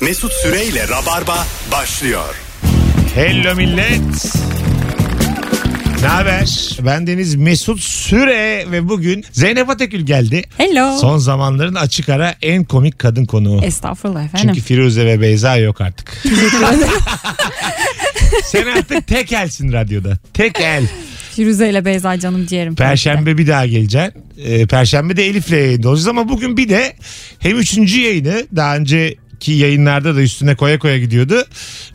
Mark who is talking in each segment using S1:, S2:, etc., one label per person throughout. S1: Mesut Süreyle Rabarba başlıyor.
S2: Hello millet. Ne haber? Ben Deniz Mesut Süre ve bugün Zeynep Atakül geldi.
S3: Hello.
S2: Son zamanların açık ara en komik kadın konuğu.
S3: Estağfurullah efendim.
S2: Çünkü Firuze ve Beyza yok artık. Sen artık tek elsin radyoda. Tek el.
S3: Firuze ile Beyza canım ciğerim.
S2: Perşembe bir daha geleceksin. Ee, Perşembe de Elif'le yayında olacağız ama bugün bir de hem üçüncü yayını daha önceki yayınlarda da üstüne koya koya gidiyordu.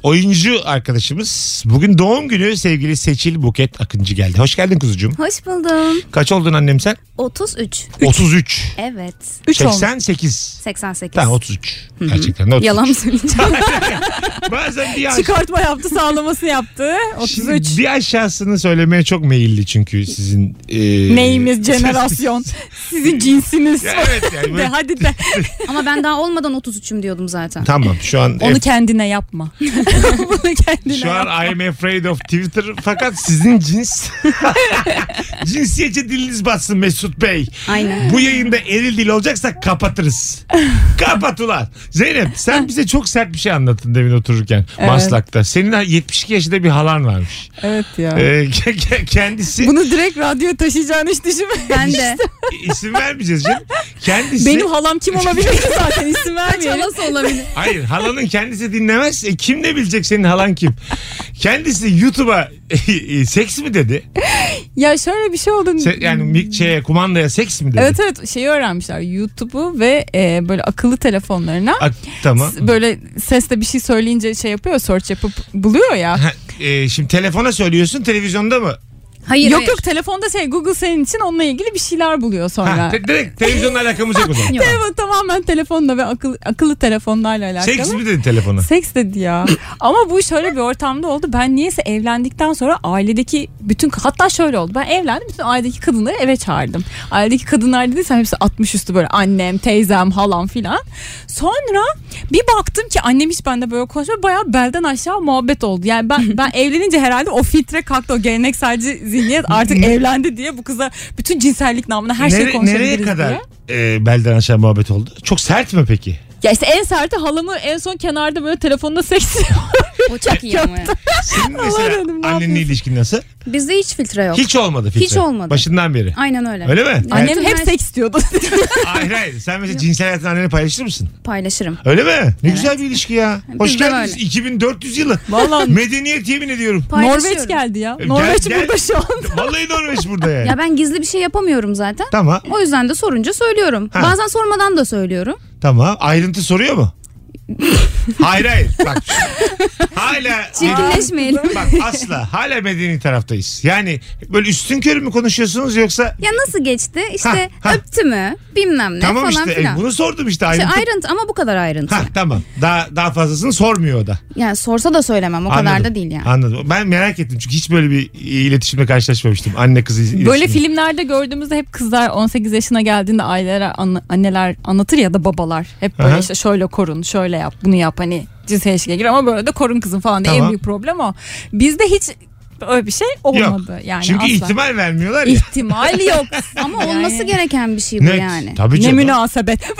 S2: Oyuncu arkadaşımız bugün doğum günü sevgili Seçil Buket Akıncı geldi. Hoş geldin kuzucuğum.
S4: Hoş buldum.
S2: Kaç oldun annem sen?
S4: 33.
S2: 33.
S4: Evet.
S3: 3 oldu.
S2: 88.
S4: 88.
S2: Tamam 33. Gerçekten de 33.
S4: Yalan mı söyleyeceğim?
S2: Bazen bir aşağı,
S3: Çıkartma yaptı sağlamasını yaptı. 33.
S2: Şimdi bir aşağısını söylemeye çok meyilli çünkü sizin... E...
S3: Neyimiz jenerasyon. Sizin cinsiniz.
S2: evet yani.
S3: de
S2: böyle-
S3: hadi de.
S4: Ama ben daha olmadan 33'üm diyordum zaten.
S2: Tamam şu an
S3: Onu kendine yapma. Bunu kendine
S2: Şu
S3: yap.
S2: an I'm afraid of Twitter fakat sizin cins cinsiyetçi diliniz batsın Mesut Bey.
S4: Aynen.
S2: Bu yayında eril dil olacaksa kapatırız. Kapat ulan. Zeynep sen bize çok sert bir şey anlattın demin otururken Maslak'ta. Senin 72 yaşında bir halan varmış.
S3: Evet ya.
S2: Ee, ke- ke- kendisi
S3: Bunu direkt radyoya taşıyacağını hiç düşünmedim.
S4: Ben de.
S2: isim vermeyeceğiz canım. Kendisi
S3: Benim halam kim olabilir ki zaten isim vermeyelim.
S4: Nasıl olabilir?
S2: Hayır halanın kendisi dinlemez. E, kim ne bilecek senin halan kim? Kendisi YouTube'a seks mi dedi?
S3: Ya şöyle bir şey oldu.
S2: Se- yani mik- şeye, kumandaya seks mi dedi?
S3: Evet evet şeyi öğrenmişler YouTube'u ve e, böyle akıllı telefonlarına
S2: A- tamam.
S3: s- böyle sesle bir şey söyleyince şey yapıyor search yapıp buluyor ya.
S2: Ha, e, şimdi telefona söylüyorsun televizyonda mı?
S4: Hayır.
S3: yok
S4: hayır.
S3: yok telefonda şey Google senin için onunla ilgili bir şeyler buluyor sonra.
S2: Ha, te- direkt televizyonla alakamız yok o zaman.
S4: Yok.
S3: Evet tamamen telefonla ve akıl, akıllı telefonlarla alakalı.
S2: Seks mi dedi telefona?
S3: Seks dedi ya. Ama bu şöyle bir ortamda oldu. Ben niyeyse evlendikten sonra ailedeki bütün hatta şöyle oldu. Ben evlendim bütün ailedeki kadınları eve çağırdım. Ailedeki kadınlar dediysem hepsi 60 üstü böyle annem, teyzem, halam filan. Sonra bir baktım ki annem hiç bende böyle konuşmuyor. Bayağı belden aşağı muhabbet oldu. Yani ben ben evlenince herhalde o filtre kalktı. O gelenekselci zihniyet artık evlendi diye bu kıza bütün cinsellik namına her şeyi
S2: Nere-
S3: konuşabiliriz
S2: nereye kadar
S3: diye.
S2: e, belden aşağı muhabbet oldu? Çok sert mi peki?
S3: Ya işte en serti halamı en son kenarda böyle telefonda seks
S4: O çok iyi ama. ya.
S2: Senin
S3: Allah
S2: mesela
S3: dedim, ne
S2: annenle
S3: yapıyorsun?
S2: ilişkin nasıl?
S4: Bizde hiç filtre yok.
S2: Hiç olmadı filtre.
S4: Hiç olmadı.
S2: Başından beri.
S4: Aynen öyle.
S2: Öyle mi?
S4: Annem
S3: Annem hep
S4: her- şey
S3: seks istiyordu.
S2: Hayır hayır. Sen mesela cinsel hayatını annene paylaşır mısın?
S4: Paylaşırım.
S2: Öyle mi? Ne güzel bir ilişki ya. Hoş
S4: Bizde
S2: geldiniz.
S4: böyle.
S2: 2400 yılı.
S3: Vallahi
S2: Medeniyet yemin ediyorum.
S4: Paylaşıyorum.
S3: Norveç geldi ya.
S2: Gel-
S3: Norveç
S2: gel.
S3: burada şu an.
S2: Vallahi Norveç burada yani.
S4: Ya ben gizli bir şey yapamıyorum zaten.
S2: Tamam
S4: O yüzden de sorunca söylüyorum.
S2: Ha.
S4: Bazen sormadan da söylüyorum.
S2: tamam. Ayrıntı soruyor mu? hayır hayır. Bak. Hala
S4: Çirkinleşmeyelim.
S2: Bak asla hala medeni taraftayız. Yani böyle üstün körü mü konuşuyorsunuz yoksa
S4: Ya nasıl geçti? İşte
S2: Ha, ha.
S4: öptü mü? Bilmem ne
S2: tamam
S4: falan
S2: işte e,
S4: filan.
S2: bunu sordum işte
S4: İşte
S2: ayrıntı.
S4: ayrıntı ama bu kadar ayrıntı.
S2: Ha tamam. Daha daha fazlasını sormuyor o da.
S4: Yani sorsa da söylemem o kadar da değil yani.
S2: Anladım. Ben merak ettim çünkü hiç böyle bir iletişimle karşılaşmamıştım. Anne kızı iletişimi.
S3: Böyle filmlerde gördüğümüzde hep kızlar 18 yaşına geldiğinde ailelere anne- anneler anlatır ya da babalar. Hep böyle
S2: Aha.
S3: işte şöyle korun, şöyle yap, bunu yap hani cinsel ilişkiye gir ama böyle de korun kızım falan diye
S2: Tamam.
S3: en büyük problem o. Bizde hiç öyle bir şey olmadı yani
S2: çünkü
S3: asla.
S2: ihtimal vermiyorlar ya.
S3: İhtimal yok.
S4: Ama olması
S3: Yani-
S4: gereken bir şey bu
S2: Net.
S4: yani.
S2: Tabii
S3: ne
S2: canım.
S3: münasebet.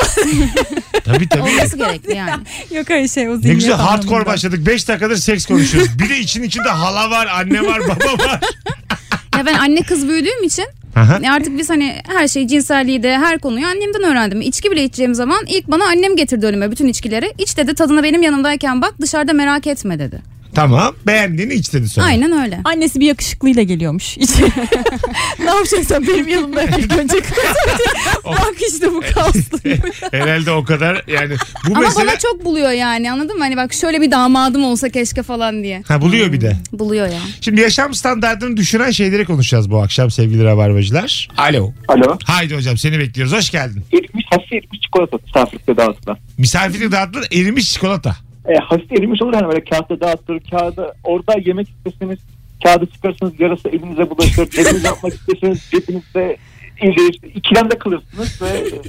S2: Tabii tabii.
S4: Olması gerekli yani.
S3: yok öyle şey o
S2: Ne
S3: zihniyet
S2: güzel hardcore
S3: anlamında.
S2: başladık. 5 dakikadır seks konuşuyoruz. Bir de için içinde hala var, anne var, baba var.
S4: Ya ben anne kız büyüdüğüm için
S2: Aha.
S4: e, artık biz hani her şeyi cinselliği de her konuyu annemden öğrendim. İçki bile içeceğim zaman ilk bana annem getirdi önüme bütün içkileri. İç dedi tadına benim yanımdayken bak dışarıda merak etme dedi.
S2: Tamam. Beğendiğini iç dedi sonra.
S4: Aynen öyle.
S3: Annesi bir yakışıklıyla geliyormuş. ne yapacaksın benim yanımda ilk önce Bak işte bu kaslı.
S2: Herhalde o kadar yani bu
S4: Ama
S2: mesela
S4: bana çok buluyor yani anladın mı? Hani bak şöyle bir damadım olsa keşke falan diye.
S2: ha buluyor bir de.
S4: Buluyor ya.
S2: Şimdi yaşam standartını düşüren şeyleri konuşacağız bu akşam sevgili rabarbacılar. Alo.
S5: Alo.
S2: Haydi hocam seni bekliyoruz. Hoş geldin.
S5: Erimiş, hafif erimiş çikolata misafirlikte dağıtılan.
S2: Misafirlik dağıtılır erimiş çikolata.
S5: E, hafif erimiş olur hani böyle kağıtta dağıtılır. Kağıda orada yemek isteseniz kağıdı çıkarırsınız yarısı elinize bulaşır. Cebiniz yapmak isteseniz cebinizde iyice işte ikilemde kalırsınız ve e,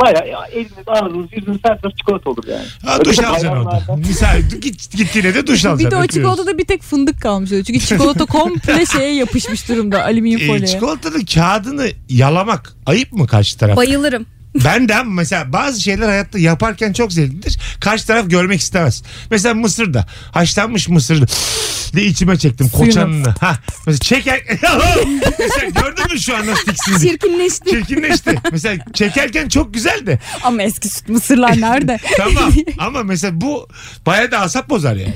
S5: bayağı ya, eliniz ağrınız yüzünüz her taraf çikolata olur yani.
S2: Ha,
S5: Öyle
S2: duş
S5: çok
S2: alacaksın
S6: şey
S2: orada.
S5: hayranlardan.
S2: Misafir git, gittiğine de
S4: şey
S2: duş alacaksın.
S3: bir de o
S2: Öpüyoruz.
S3: çikolatada bir tek fındık kalmış öyle. Çünkü çikolata komple şeye
S4: E,
S3: yapışmış durumda. Alüminyum
S2: Ee,
S3: folyoya.
S2: çikolatanın kağıdını yalamak ayıp mı karşı taraf?
S4: Bayılırım.
S2: Ben de ama mesela bazı şeyler hayatta yaparken çok zevklidir. Karşı taraf görmek istemez. Mesela mısırda. Haşlanmış mısırda. de içime çektim
S3: Suyunu.
S2: koçanını. Ha. Mesela çeker. mesela gördün mü şu an nasıl tiksindim?
S4: Çirkinleşti.
S2: Çirkinleşti. Mesela çekerken çok güzeldi.
S3: Ama eski süt mısırlar nerede?
S2: Tamam. Ama mesela bu bayağı da asap bozar yani.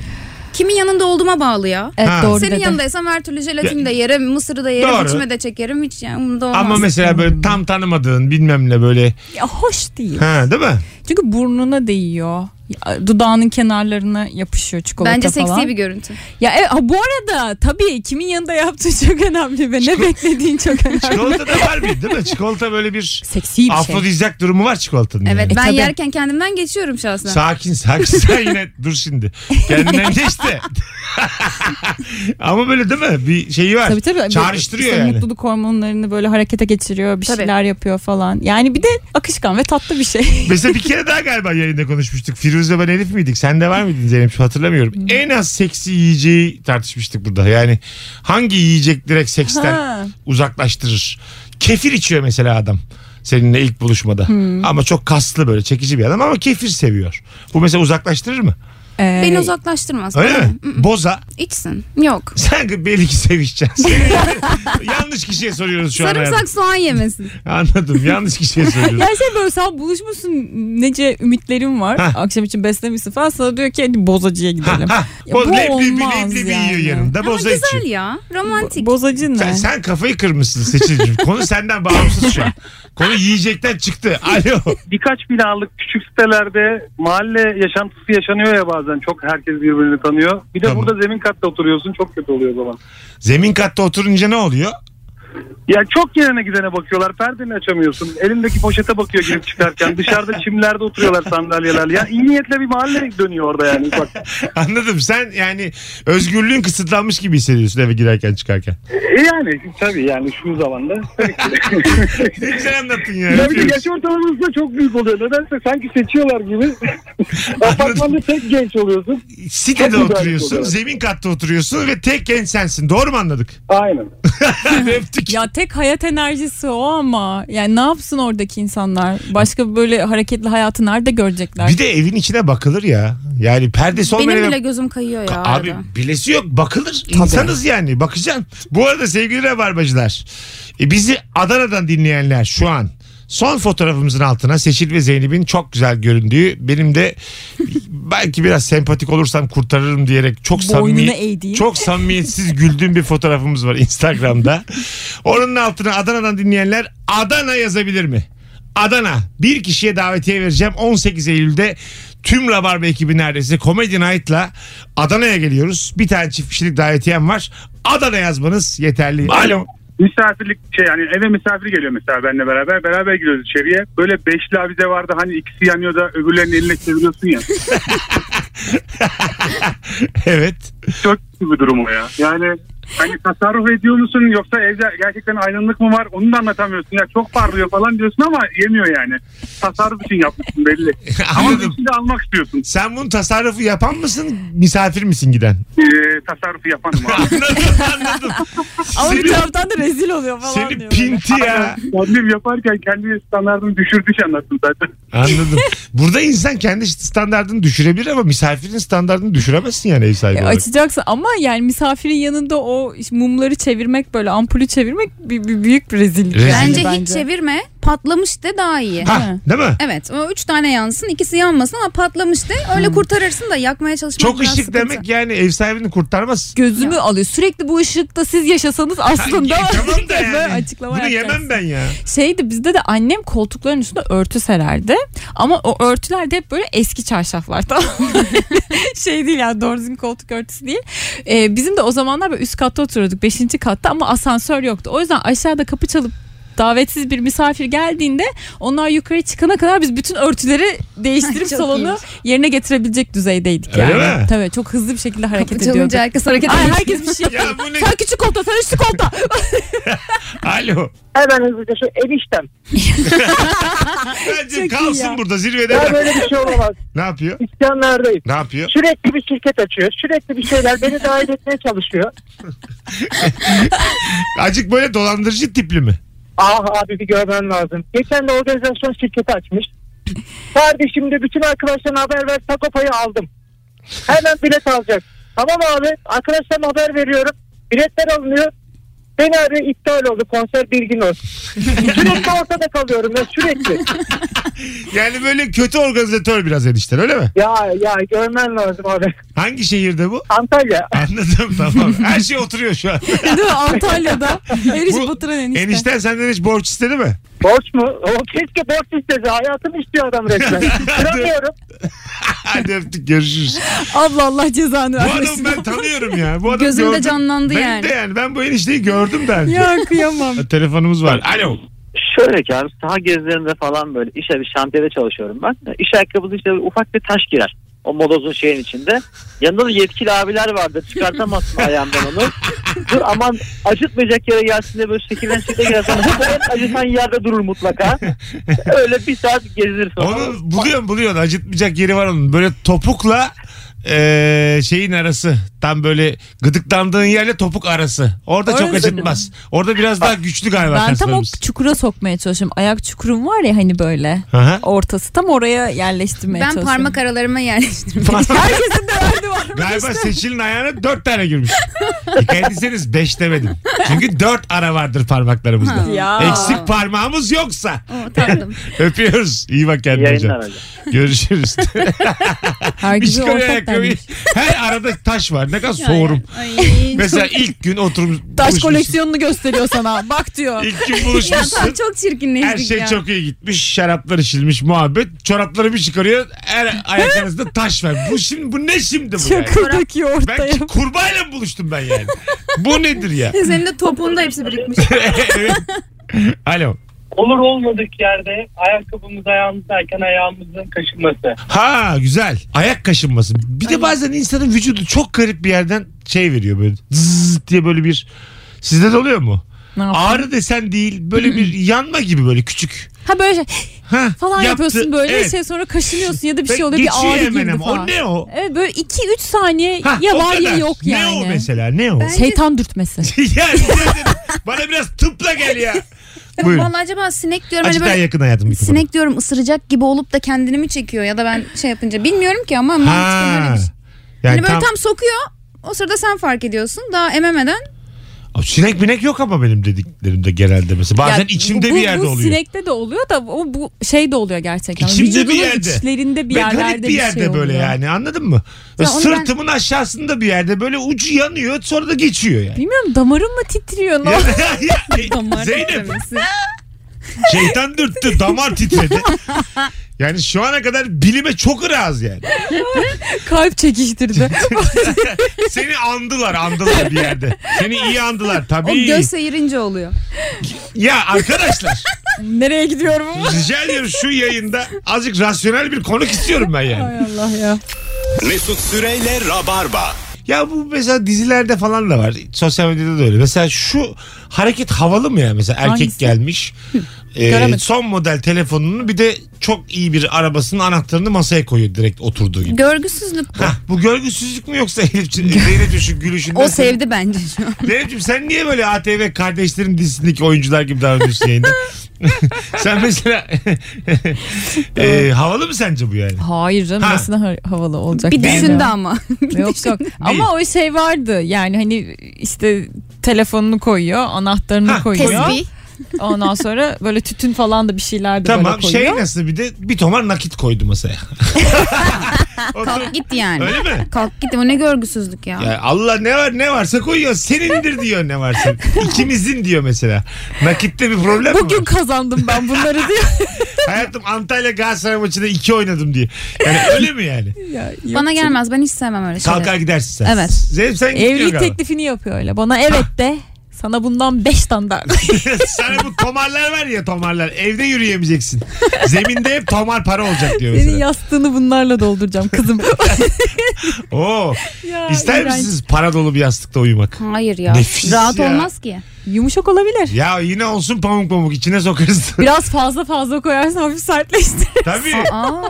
S4: Kimin yanında olduğuma bağlı ya.
S3: Evet
S2: Ha.
S3: doğru
S4: Senin
S3: dedi.
S4: yanındaysam her türlü jelatini de yerim, mısırı da yerim,
S2: Doğru.
S4: içime de çekerim. Hiç yani umurumda olmaz.
S2: Ama mesela böyle tam tanımadığın bilmem ne böyle.
S3: Ya hoş değil.
S2: Ha değil mi?
S3: Çünkü burnuna değiyor. Ya, Dudağının kenarlarına yapışıyor çikolata
S4: Bence
S3: falan.
S4: seksi bir görüntü.
S3: Ya e, ha, bu arada tabii kimin yanında yaptığın çok önemli ve ne beklediğin çok önemli.
S2: Çikolata da var bir değil mi? Çikolata böyle bir
S3: Seksi bir şey.
S2: afrodizyak durumu var çikolatanın. yani.
S4: Evet
S3: E,
S4: ben
S3: tabii.
S4: yerken kendimden geçiyorum şahsen.
S2: Sakin sakin sen yine dur şimdi. Kendinden geç de. Ama böyle değil mi? Bir şeyi var.
S3: Tabii tabii.
S2: Çağrıştırıyor
S3: İşte
S2: yani.
S3: Mutluluk hormonlarını böyle harekete geçiriyor. Bir
S4: Tabii.
S3: şeyler yapıyor falan. Yani bir de akışkan ve tatlı bir şey.
S2: Mesela bir kere daha galiba yayında konuşmuştuk. Firuze ben Elif miydik? Sen de var mıydın Zeynep? Hatırlamıyorum. En az seksi yiyeceği tartışmıştık burada. Yani hangi yiyecek direkt seksten
S3: Ha.
S2: uzaklaştırır? Kefir içiyor mesela adam. Seninle ilk buluşmada. Ama çok kaslı böyle çekici bir adam ama kefir seviyor. Bu mesela uzaklaştırır mı?
S3: Ee,
S4: Beni uzaklaştırmaz.
S2: Öyle mi? Boza.
S4: İçsin. Yok.
S2: Sen belli ki sevişeceksin. yanlış kişiye soruyoruz şu an. hayatım.
S4: Sarımsak soğan yemesin.
S2: Anladım. Yanlış kişiye soruyoruz.
S3: Ya şey böyle sen buluşmuşsun nece ümitlerim var.
S2: Hah.
S3: Akşam için beslemişsin falan. Sana diyor ki hadi bozacıya gidelim.
S2: Ha,
S3: Ya
S2: boz,
S3: bu
S2: leblebi,
S3: olmaz
S2: leblebi
S3: yani.
S2: yiyor yanında.
S4: Ama
S2: Boza
S4: güzel
S2: içiyor.
S4: ya. Romantik.
S3: Bozacı ne?
S2: Sen, sen kafayı kırmışsın Seçil'cim. Konu senden bağımsız şu an. Konu yiyecekten çıktı. Alo.
S7: birkaç binalık küçük sitelerde mahalle yaşantısı yaşanıyor ya bazen. Çok herkes birbirini tanıyor. Bir de
S2: Tamam.
S7: burada zemin katta oturuyorsun. Çok kötü oluyor o zaman.
S2: Zemin katta oturunca ne oluyor?
S7: Ya çok gelene gidene bakıyorlar. Perdeni açamıyorsun. Elindeki poşete bakıyor girip çıkarken. Dışarıda çimlerde oturuyorlar sandalyeler. Ya iyi niyetle bir mahalle dönüyor orada yani. Bak.
S2: Anladım. Sen yani özgürlüğün kısıtlanmış gibi hissediyorsun eve girerken çıkarken.
S7: E yani tabii yani şu zamanda. tabii ki.
S2: Ne güzel anlattın ya.
S7: Tabii ki
S2: Öpüyoruz.
S7: yaş ortalamanız da çok büyük oluyor. Nedense sanki seçiyorlar gibi. Apartmanda tek genç oluyorsun.
S2: Sitede
S7: Çok güzel
S2: oturuyorsun.
S7: oluyor.
S2: Zemin katta oturuyorsun ve tek genç sensin. Doğru mu anladık?
S7: Aynen.
S2: Öptük.
S3: Ya tek hayat enerjisi o ama. Yani ne yapsın oradaki insanlar? Başka böyle hareketli hayatı nerede görecekler?
S2: Bir de evin içine bakılır ya. Yani perdesi olmayan
S4: Benim
S2: eve-
S4: bile gözüm kayıyor ya.
S2: Abi
S4: arada.
S2: bilesi yok bakılır insanız yani bakacaksın. Bu arada sevgili rabarbacılar e, bizi Adana'dan dinleyenler şu an son fotoğrafımızın altına Seçil ve Zeynep'in çok güzel göründüğü benim de e, belki biraz sempatik olursam kurtarırım diyerek çok
S3: Boynunu
S2: samimi
S3: eğdiğim.
S2: çok samimiyetsiz güldüğüm bir fotoğrafımız var Instagram'da. Onun altına Adana'dan dinleyenler Adana yazabilir mi? Adana. Bir kişiye davetiye vereceğim. 18 Eylül'de tüm Rabarba ekibi neredeyse Comedy Night'la Adana'ya geliyoruz. Bir tane çift kişilik davetiyem var. Adana yazmanız yeterli. Alo.
S8: misafirlik şey yani eve misafir geliyor mesela benimle beraber. Beraber giriyoruz içeriye. Böyle beşli avize vardı hani ikisi yanıyor da öbürlerinin eline çeviriyorsun ya.
S2: Evet.
S8: Çok kötü bir durum o ya. Yani hani tasarruf ediyor musun yoksa evde gerçekten aydınlık mı var onu da anlatamıyorsun. Ya çok parlıyor falan diyorsun ama yemiyor yani. Tasarruf için yapmışsın belli. ama
S2: Anladım.
S8: beşli de almak istiyorsun.
S2: Sen bunun tasarrufu yapan mısın? Misafir misin giden?
S8: Ee, tasarrufu yapanım abi.
S2: Anladım anladım.
S3: Ama bir
S2: Seni,
S3: taraftan da rezil oluyor falan
S2: seni
S3: diyor.
S2: pinti ya.
S8: Kendim yaparken kendi standartını düşürdüğü için anlattım zaten.
S2: Anladım. Burada insan kendi standartını düşürebilir ama misafirin standartını düşüremezsin yani ev sahibi
S3: E,
S2: olarak.
S3: açacaksın ama yani misafirin yanında o işte mumları çevirmek böyle ampulü çevirmek bir, bir- büyük bir rezillik.
S2: Rezil.
S3: yani
S4: Bence, hiç çevirme. Patlamış de daha iyi.
S2: Ha, değil mi?
S4: Evet o üç tane yansın ikisi yanmasın ama patlamış de öyle kurtarırsın da yakmaya çalışmak
S2: Çok
S4: biraz
S2: ışık
S4: sıkıntı.
S2: demek yani ev sahibini kurtarmaz.
S3: Gözümü alıyor. Sürekli bu ışıkta siz yaşasanız aslında
S2: Ha, tamam da
S3: böyle
S2: yani.
S3: açıklama
S2: Bunu
S3: yapacaksın.
S2: yemem ben ya.
S3: Şeydi bizde de annem koltukların üstünde örtü sererdi. Ama o örtüler de hep böyle eski çarşaflar tamam mı? Şey değil yani doğru düzgün koltuk örtüsü değil. Ee, bizim de o zamanlar böyle üst katta oturuyorduk. Beşinci katta ama asansör yoktu. O yüzden aşağıda kapı çalıp davetsiz bir misafir geldiğinde onlar yukarı çıkana kadar biz bütün örtüleri değiştirip
S4: Çok
S3: salonu
S4: iyiymiş.
S3: yerine getirebilecek düzeydeydik
S2: Öyle
S3: yani.
S2: mi?
S3: Tabii çok hızlı bir şekilde hareket
S4: Kapı
S3: ediyorduk.
S4: çalınca herkes hareket
S3: Ay,
S4: ediyor.
S3: herkes bir şey
S2: Ya
S3: yapıyor.
S2: bu ne?
S3: Sen küçük kolta, sen üstü kolta.
S2: Alo.
S9: Hemen hızlıca şu eniştem.
S2: Bence
S3: iyi
S2: kalsın
S3: ya.
S2: burada zirvede.
S9: Ya böyle bir şey olamaz.
S2: Ne yapıyor?
S9: İsyanlardayım.
S2: Ne yapıyor?
S9: Sürekli bir şirket açıyor. Sürekli bir şeyler beni dahil etmeye çalışıyor.
S2: Acık böyle dolandırıcı tipli mi?
S9: Ah abi bir görmen lazım. Geçen de organizasyon şirketi açmış. Kardeşim de bütün arkadaşlarına haber ver taco payı aldım. Hemen bilet alacak. Tamam abi arkadaşlarıma haber veriyorum. Biletler alınıyor. Beni arıyor iptal oldu konser bilgin olsun. sürekli ortada kalıyorum ya sürekli.
S2: Yani böyle kötü organizatör biraz enişten öyle mi?
S9: Ya ya görmen lazım abi.
S2: Hangi şehirde bu?
S9: Antalya.
S2: Anladım tamam. Her şey oturuyor şu an.
S3: Değil mi? Antalya'da. Eriş
S2: Bu-
S3: Batıran enişte.
S2: Enişten senden hiç borç istedi mi?
S9: Borç mu? O keşke borç istese. Hayatını istiyor adam resmen. Kıramıyorum.
S2: Hadi öptük görüşürüz.
S3: Abla Allah cezanı
S2: Bu
S3: vermesin.
S2: adamı ben tanıyorum ya. Bu adamı
S4: Gözümde
S2: gördüm.
S4: canlandı
S2: Benim
S4: yani.
S2: de yani. Ben bu enişteyi gördüm daha önce.
S3: Ya kıyamam.
S2: Telefonumuz var. Alo.
S10: Şöyle ki abi saha gezilerinde falan böyle işe bir şantiyede çalışıyorum ben. İş ayakkabısı işte ufak bir taş girer. O modozun şeyin içinde. Yanında da yetkili abiler vardı. Çıkartamazsın ayağından onu. Dur aman acıtmayacak yere gelsin diye böyle şekilden şekilde gelsin. Hep en acıtan yerde durur mutlaka. Öyle bir saat gezilir sonra.
S2: Onu buluyorum buluyorum. Acıtmayacak yeri var onun. Böyle topukla eee, şeyin arası. Tam böyle gıdıklandığın yerle topuk arası. Orada
S3: Öyle
S2: çok
S3: mi?
S2: acıtmaz. Orada biraz daha güçlü galiba
S3: Ben tam o
S2: kaslarımız.
S3: çukura sokmaya çalışıyorum. Ayak çukurum var ya hani böyle.
S2: Aha.
S3: Ortası tam oraya yerleştirmeye
S4: Ben
S3: çalışıyorum.
S4: parmak aralarıma yerleştirdim.
S3: Herkesin de derdi var.
S2: Galiba Seçil'in ayağına dört tane girmiş. Dikkat etseniz beş demedim. Çünkü dört ara vardır parmaklarımızda.
S3: Ya.
S2: Eksik parmağımız yoksa.
S4: Oo, tatlım.
S2: Öpüyoruz. İyi bak kendine
S10: Yayınlar
S2: hocam.
S10: hocam.
S2: Görüşürüz. bir şey
S3: Herkese
S2: çıkarıyor
S3: ortak
S2: ayakkabıyı.
S3: dermiş.
S2: Her arada taş var. Ne kadar soğurum.
S4: Ay, çok-
S2: Mesela ilk gün oturmuş.
S3: Taş
S2: buluşmuşsun.
S3: koleksiyonunu gösteriyor sana. Bak diyor.
S2: İlk gün
S4: Ya tam
S2: buluşmuşsun.
S4: çok
S2: Her
S4: çirkinleştik
S2: şey
S4: ya.
S2: çok iyi gitmiş. Şaraplar içilmiş muhabbet. Çorapları bir çıkarıyor. Her ayak arasında taş var. Bu şimdi bu ne şimdi bu yani?
S3: Çakır döküyor
S2: Ben
S3: ortaya.
S2: ki- kurbağayla mı buluştum ben yani? bu nedir ya?
S4: Senin de topuğunda hepsi birikmiş.
S2: Evet. Alo.
S5: Olur olmadık yerde ayakkabımız ayağımızdayken ayağımızın kaşınması.
S2: Ha güzel. Ayak kaşınması. Bir de bazen insanın vücudu çok garip bir yerden şey veriyor böyle. Zzz diye böyle bir. Sizde de oluyor mu?
S3: Ne yapayım?
S2: Ağrı desen değil böyle bir yanma gibi böyle küçük.
S3: Ha böyle şey
S2: Ha,
S3: falan
S2: yaptı.
S3: yapıyorsun böyle
S2: Evet.
S3: şey sonra kaşınıyorsun ya da bir
S2: Ve
S3: şey oluyor bir
S2: geçiyor
S3: ağrı
S2: hemen
S3: girdi
S2: ama.
S3: falan.
S2: O ne o?
S3: Evet böyle 2-3 saniye
S2: Ha,
S3: ya
S2: o
S3: var ya
S2: kadar.
S3: yok yani.
S2: Ne o mesela ne o?
S3: Şeytan dürtmesi.
S2: yani yemin ederim, bana biraz tıpla gel ya. Buyurun.
S4: Vallahi acaba sinek diyorum hani
S2: Azıcık daha
S4: böyle
S2: yakın hayatım. mikrofonu.
S4: sinek diyorum ısıracak gibi olup da kendini mi çekiyor ya da ben şey yapınca bilmiyorum ki ama mantıken öyle
S2: Ha.
S4: bir şey.
S2: Yani
S4: Hani böyle
S2: tam,
S4: tam sokuyor o sırada sen fark ediyorsun daha ememeden.
S2: Aa, sinek binek yok ama benim dediklerimde genelde mesela. Bazen
S3: Ya
S2: içimde
S3: bu-
S2: bir yerde
S3: bu
S2: oluyor.
S3: sinekte de oluyor da o bu şey de oluyor gerçekten.
S2: İçimde bir
S3: Vücudunun
S2: yerde.
S3: içlerinde bir
S2: Ve
S3: yerlerde
S2: garip bir yerde
S3: şey
S2: böyle
S3: oluyor.
S2: yani anladın mı?
S4: Ya onu ben-
S2: Sırtımın aşağısında bir yerde böyle ucu yanıyor sonra da geçiyor yani.
S3: Bilmiyorum damarım mı titriyor? Ne
S2: Ya-
S3: oldu?
S2: ya- Zeynep şeytan dürttü damar titredi. Yani şu ana kadar bilime çok razı yani.
S3: Kalp çekiştirdi.
S2: Seni andılar andılar bir yerde. Seni iyi andılar
S4: O
S2: tabii.
S4: göz seyirince oluyor.
S2: Ya arkadaşlar
S3: Nereye gidiyorum?
S2: rica ediyorum şu yayında azıcık rasyonel bir konuk istiyorum ben yani.
S3: Hay Allah ya.
S1: Mesut Süreyle Rabarba.
S2: Ya bu mesela dizilerde falan da var. Sosyal medyada da öyle. Mesela şu hareket havalı mı ya? Mesela erkek
S3: Hangisi?
S2: gelmiş. e,
S3: Göremedim.
S2: son model telefonunu bir de çok iyi bir arabasının anahtarını masaya koyuyor direkt oturduğu gibi.
S4: Görgüsüzlük.
S2: Hah, bu görgüsüzlük mü yoksa Elif'ciğim Zeynep'ciğim şu gülüşünden?
S4: O sevdi bence şu an.
S2: Zeynep'ciğim sen niye böyle ATV kardeşlerim dizisindeki oyuncular gibi davranıyorsun yayında? sen mesela e, havalı mı sence bu yani?
S3: Hayır canım
S2: Ha.
S3: nasıl ha- havalı olacak.
S4: Bir
S3: yani?
S4: düşündü ama.
S3: Yok yok. Ama o şey vardı yani hani işte telefonunu koyuyor, anahtarını
S2: Ha,
S3: koyuyor.
S4: Tesbih.
S3: Ondan sonra böyle tütün falan da bir şeyler de
S2: Tamam
S3: böyle koyuyor.
S2: şey nasıl bir de bir tomar nakit koydu masaya. Otur-
S4: Kalk git yani.
S2: Öyle mi?
S4: Kalk git o ne görgüsüzlük ya.
S2: Ya Allah ne var ne varsa koyuyor. Senindir diyor ne varsa. İkimizin diyor mesela. Nakitte bir problem mi
S3: Bugün
S2: var?
S3: kazandım ben bunları diye.
S2: Hayatım Antalya Galatasaray maçında iki oynadım diye. Yani öyle mi yani?
S3: Ya, yok
S4: Bana
S3: canım.
S4: gelmez ben hiç sevmem öyle şeyleri.
S2: Kalkar gidersin sen.
S4: Evet.
S2: Zeynep sen gidiyorsun
S3: Evlilik
S2: galiba.
S3: teklifini yapıyor öyle. Bana evet de sana bundan 5 tane daha.
S2: Sana bu tomarlar var ya tomarlar. Evde yürüyemeyeceksin. Zeminde hep tomar para olacak diyor
S3: Senin
S2: mesela.
S3: yastığını bunlarla dolduracağım kızım.
S2: Oo.
S3: Ya,
S2: İster
S3: iğrenç.
S2: misiniz para dolu bir yastıkta uyumak?
S4: Hayır ya.
S2: Nefis
S4: Rahat
S2: ya.
S4: olmaz ki.
S3: Yumuşak olabilir.
S2: Ya yine olsun pamuk pamuk içine sokarız.
S3: Biraz fazla fazla koyarsan hafif sertleştirir.
S2: Tabii.
S4: Aa,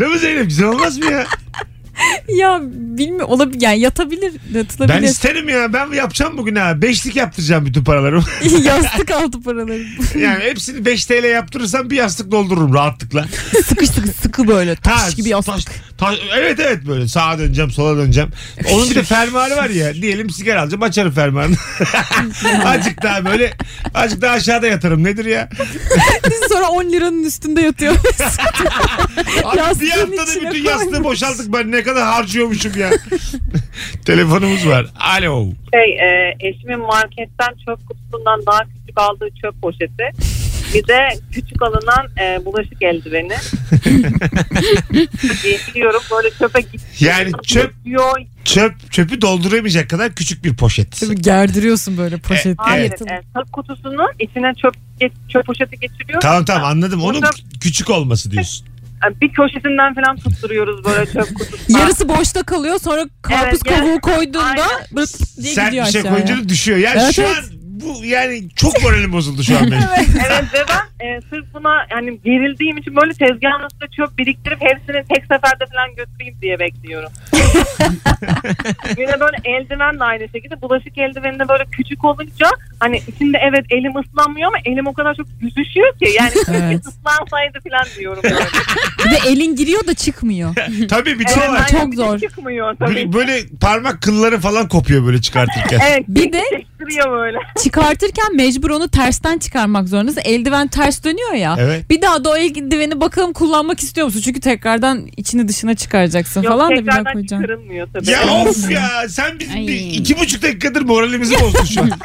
S2: Değil mi Zeynep? Güzel olmaz mı ya?
S3: ya bilmiyorum olabilir yani yatabilir yatılabilir.
S2: Ben isterim ya. Ben yapacağım bugün ha. Beşlik yaptıracağım bütün paraları.
S3: Yastık altı paraları.
S2: yani hepsini 5 TL yaptırırsam bir yastık doldururum rahatlıkla.
S3: sıkı sıkı sıkı böyle
S2: Ha,
S3: taş gibi yastık.
S2: taş- taş- evet evet böyle sağa döneceğim sola döneceğim. Onun bir de fermuarı var ya. Diyelim sigara alacağım açarım fermuarını. azıcık daha böyle azıcık daha aşağıda yatarım. Nedir ya?
S3: Sonra 10 liranın üstünde yatıyor.
S2: Abi bir
S3: Yastığın
S2: haftada
S3: içine
S2: bütün yastığı
S3: koymuş.
S2: boşalttık ben ne kadar harcıyormuşum ya. Telefonumuz var. Alo.
S6: Şey, e, eşimin marketten çöp kutusundan daha küçük aldığı çöp poşeti. Bir de küçük alınan e, bulaşık eldiveni. Biliyorum böyle çöpe gidiyor.
S2: Yani çöp çöp çöpü dolduramayacak kadar küçük bir poşet.
S3: Tabii gerdiriyorsun böyle poşeti.
S6: Hayır,
S3: Yatın.
S6: e, çöp kutusunun içine çöp geç- çöp poşeti geçiriyor.
S2: Tamam tamam anladım. Onun
S6: Burada-
S2: kü- küçük olması diyorsun.
S6: E, bir köşesinden falan tutturuyoruz böyle çöp kutusuna.
S3: Yarısı boşta kalıyor sonra karpuz
S6: Evet,
S3: kabuğu
S6: yarısı-
S3: koyduğunda
S6: Aynen.
S3: bırt diye
S2: Sen
S3: gidiyor
S2: bir şey
S3: aşağıya.
S2: koyunca da düşüyor. Yani
S3: Evet,
S2: şu
S3: evet.
S2: an bu yani çok moralim bozuldu şu an benim.
S6: Evet ve ben e, sırf buna yani gerildiğim için böyle tezgahın üstüne çöp biriktirip hepsini tek seferde falan götüreyim diye bekliyorum. Yine böyle eldiven de aynı şekilde bulaşık eldiveni de böyle küçük olunca hani içinde evet elim ıslanmıyor ama elim o kadar çok yüzüşüyor ki yani keşke
S3: Evet.
S6: ıslansaydı falan diyorum. Yani.
S3: Bir de elin giriyor da çıkmıyor.
S2: Tabii bir de
S6: Evet,
S2: var.
S6: aynen,
S3: çok
S6: bir de
S3: zor.
S6: Çıkmıyor tabii.
S2: Böyle, böyle parmak kılları falan kopuyor böyle çıkartırken.
S6: Evet,
S3: Bir de-
S6: çekiştiriyor böyle.
S3: Çıkartırken mecbur onu tersten çıkarmak zorundasın. Eldiven ters dönüyor ya.
S2: Evet.
S3: Bir daha da o eldiveni bakalım kullanmak istiyor musun? Çünkü tekrardan içini dışına çıkaracaksın falan da bir daha
S6: tekrardan
S3: koyacaksın.
S6: çıkarılmıyor tabii.
S2: Ya of ya sen bizim bir
S4: Ay.
S2: iki buçuk dakikadır moralimizi bozdun şu an.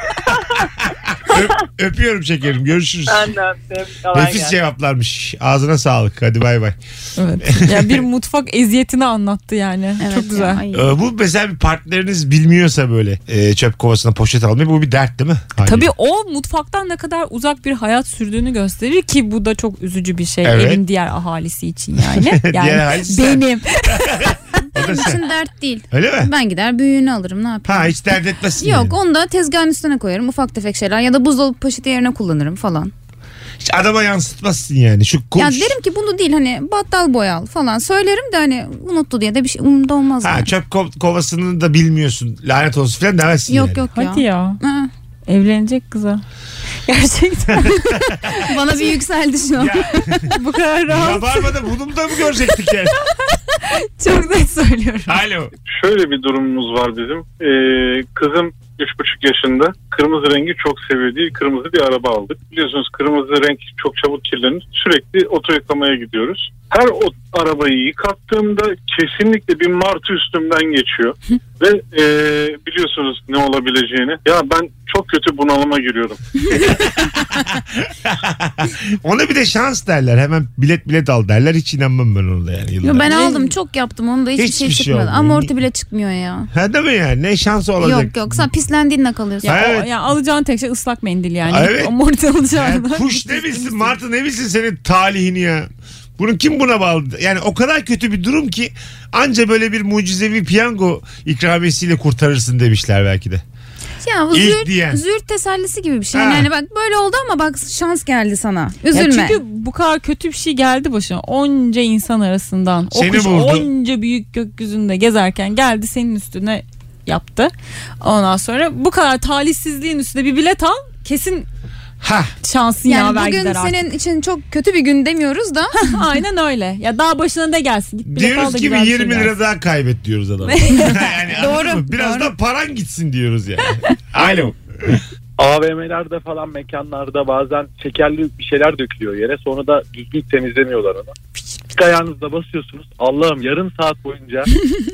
S2: Öp- öpüyorum şekerim görüşürüz.
S6: Ben de öptüm. Kolay
S2: Nefis
S6: gelsin.
S2: cevaplarmış. Ağzına sağlık. Hadi bay bay.
S3: Evet. Ya bir mutfak eziyetini anlattı yani.
S4: Evet
S3: Çok güzel.
S4: ya, ay.
S2: Ee, bu mesela bir partneriniz bilmiyorsa böyle e, çöp kovasına poşet almayı bu bir dert değil mi? Hayır.
S3: Tabii o mutfaktan ne kadar uzak bir hayat sürdüğünü gösterir ki bu da çok üzücü bir şey
S2: Evet.
S3: evin diğer ahalisi için yani.
S2: Diğer
S3: Yani
S2: ahalisi sen.
S3: benim.
S2: O da
S4: Benim
S2: sen.
S4: için dert değil.
S2: Öyle mi?
S4: Ben gider büyüğünü alırım ne yapayım.
S2: Ha hiç dert etmezsin. yani.
S4: Yok onu da tezgahın üstüne koyarım ufak tefek şeyler ya da buzdolabı poşeti yerine kullanırım falan.
S2: Hiç adama yansıtmazsın yani. Şu konuş.
S4: Ya derim ki bunu değil hani battal boy al falan söylerim de hani unuttu diye de bir şey umurumda olmaz.
S2: Ha
S4: yani.
S2: çöp ko- kovasını da bilmiyorsun. Lanet olsun falan demezsin
S4: Yok
S2: yani.
S4: yok ya.
S3: Hadi ya.
S4: Ha,
S3: Evlenecek kıza. Gerçekten
S4: bana bir yükseldi şu an.
S3: bu kadar rahat.
S2: Rabarba'da bunu da mı görecektik yani?
S3: Çok net söylüyorum.
S2: Alo.
S8: Şöyle bir durumumuz var bizim. Ee, kızım 3,5 yaşında. Kırmızı rengi çok seviyor diye kırmızı bir araba aldık. Biliyorsunuz kırmızı renk çok çabuk kirlenir. Sürekli oto yıkamaya gidiyoruz. Her o arabayı yıkattığımda kesinlikle bir martı üstümden geçiyor. Ve e, biliyorsunuz ne olabileceğini. Ya ben çok kötü bunalıma giriyorum.
S2: Ona bir de şans derler. Hemen bilet bilet al derler. Hiç inanmam ben ona da yani.
S4: Yo,
S2: yıllar.
S4: ben aldım çok yaptım onu da hiçbir,
S2: Hiçbir
S4: şey
S2: şey
S4: çıkmadı.
S2: olmuyor.
S4: Amorti bile çıkmıyor ya.
S2: Ha değil mi yani? Ne şansı olacak?
S4: Yok yok sen pislendiğinle kalıyorsun.
S3: Ya, o-
S2: Evet.
S3: ya alacağın tek şey ıslak mendil yani.
S2: Evet.
S3: O morte alacağın.
S2: Yani kuş ne bilsin martı ne bilsin senin talihini ya. Bunu kim buna bağladı? Yani o kadar kötü bir durum ki anca böyle bir mucizevi piyango ikramiyesiyle kurtarırsın demişler belki de.
S4: Ya bu
S2: İlk
S4: züğürt,
S2: diyen.
S4: züğürt tesellisi gibi bir şey.
S2: Ha.
S4: Yani hani bak böyle oldu ama bak şans geldi sana.
S3: Ya
S4: Üzülme.
S3: çünkü bu kadar kötü bir şey geldi başına. Onca insan arasından. O
S2: Seni
S3: kuş
S2: vurdu.
S3: onca büyük gökyüzünde gezerken geldi senin üstüne yaptı. Ondan sonra bu kadar talihsizliğin üstüne bir bilet al. Kesin
S2: Ha
S3: şansın
S4: yani
S3: yaver
S4: bugün
S3: gider artık.
S4: senin için çok kötü bir gün demiyoruz da
S3: Aynen öyle. Ya daha başına da gelsin. Git bilet al
S2: diyoruz
S3: da
S2: ki bir
S3: güzel bir şey
S2: 20
S3: gelsin.
S2: lira daha kaybet diyoruz adama. yani
S4: Doğru,
S2: Doğru. Biraz
S4: doğru.
S2: da paran gitsin diyoruz yani. Alo.
S11: AVM'lerde falan mekanlarda bazen şekerli bir şeyler dökülüyor yere. Sonra da düzgün temizlemiyorlar onu. Pislik ayağınızda basıyorsunuz. Allah'ım yarım saat boyunca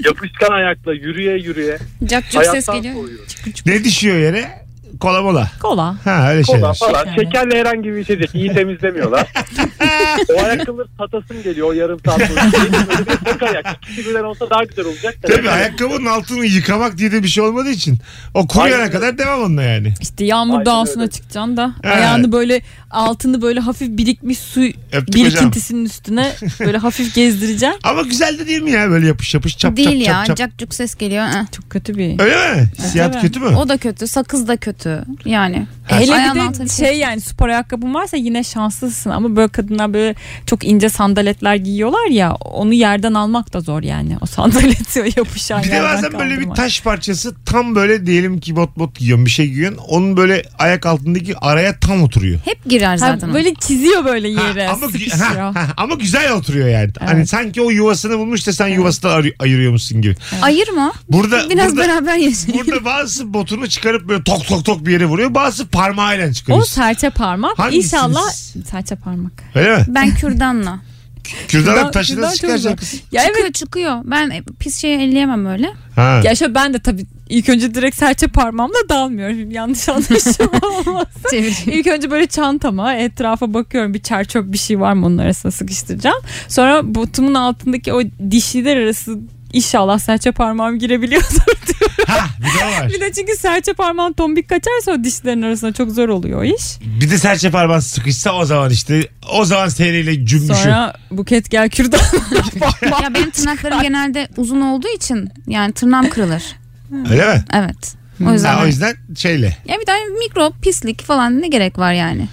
S11: yapışkan ayakla yürüye yürüye
S4: cak cuk ses
S11: hayattan
S4: geliyor.
S11: soğuyor.
S2: Ne düşüyor yere? Kola mola.
S3: Kola.
S2: Ha öyle
S11: Kola
S2: şeyler.
S11: falan.
S3: Yani.
S11: Şekerle herhangi bir içecek. iyi temizlemiyorlar. o ayakkabıları satasım geliyor o yarım saat boyunca. Tek ayak. İkisi birden olsa daha güzel olacak. da.
S2: Tabii ayakkabının altını yıkamak diye de bir şey olmadığı için. O kuruyana
S11: Aynen.
S2: kadar devam onunla yani.
S3: İşte yağmur
S11: Aynen
S3: dağısına
S11: öyle.
S3: çıkacaksın da ayağını böyle altını böyle hafif birikmiş su
S2: Öptük hocam.
S3: birikintisinin üstüne böyle hafif gezdireceksin.
S2: Ama güzel de değil mi ya böyle yapış yapış çap
S4: Değil
S2: çap
S4: ya
S2: çap çap.
S4: cak cuk ses geliyor. eh.
S3: Çok kötü bir
S2: Öyle mi? Hissiyat
S3: Tabii.
S2: kötü mü?
S4: O da kötü sakız da kötü. kötü. Yani.
S3: Hele
S4: Ayağın
S3: bir
S4: altına
S3: de
S4: bir
S3: şey yani spor ayakkabın varsa yine şanslısın ama böyle kadınlar böyle çok ince sandaletler giyiyorlar ya onu yerden almak da zor yani o sandaleti yapışan
S2: Bir de
S3: yerden
S2: bazen böyle bir
S3: kaldırmak.
S2: taş parçası tam böyle diyelim ki bot bot giyiyorsun bir şey giyiyorsun. Onun böyle ayak altındaki araya tam oturuyor.
S4: Hep girer
S3: Ha,
S4: zaten. o.
S3: böyle çiziyor böyle yere
S2: ama, gü-
S3: sıkışıyor.
S2: ha, ha, ama güzel oturuyor yani. Hani sanki o yuvasını bulmuş da sen yuvasını ayır- ayırıyormuşsun gibi.
S4: Ayırma.
S2: Burada
S4: Biraz
S2: burada,
S4: beraber yaşayın.
S2: burada bazısı botunu çıkarıp böyle tok tok tok bir yere vuruyor. Bazısı parmağıyla
S3: O
S2: çıkarıyor.
S3: serçe parmak
S2: Hangisiniz?
S3: inşallah serçe parmak.
S2: Öyle mi?
S4: Ben kürdanla.
S2: Kürdanın
S3: Kürdan-
S2: taşını
S3: kürdan çok
S2: çıkaracak.
S3: güzel. Ya
S4: çıkıyor
S3: evet
S4: çıkıyor. Ben e, pis şeyi elleyemem öyle.
S2: Ha.
S3: ya şöyle ben de tabii ilk önce direkt serçe parmağımla dalmıyorum yanlış anlaşılma olmaz.
S4: Çeviriyor.
S3: İlk önce böyle çantama etrafa bakıyorum bir çerçöp bir şey var mı onun arasına sıkıştıracağım. Sonra botumun altındaki o dişliler arası inşallah serçe parmağım girebiliyordur diyor.
S2: ha bir de o var.
S3: Bir de çünkü serçe parmağın tombik kaçarsa o dişlerin arasına çok zor oluyor o iş.
S2: Bir de serçe parmağın sıkışsa o zaman işte o zaman seriyle cümbüşü.
S3: Sonra buket gel kürdan.
S4: ya benim tırnaklarım genelde uzun olduğu için yani tırnağım kırılır.
S2: Öyle mi?
S4: Evet. O yüzden.
S2: Ha, o yüzden şeyle.
S4: Ya bir tane mikrop, pislik falan ne gerek var yani?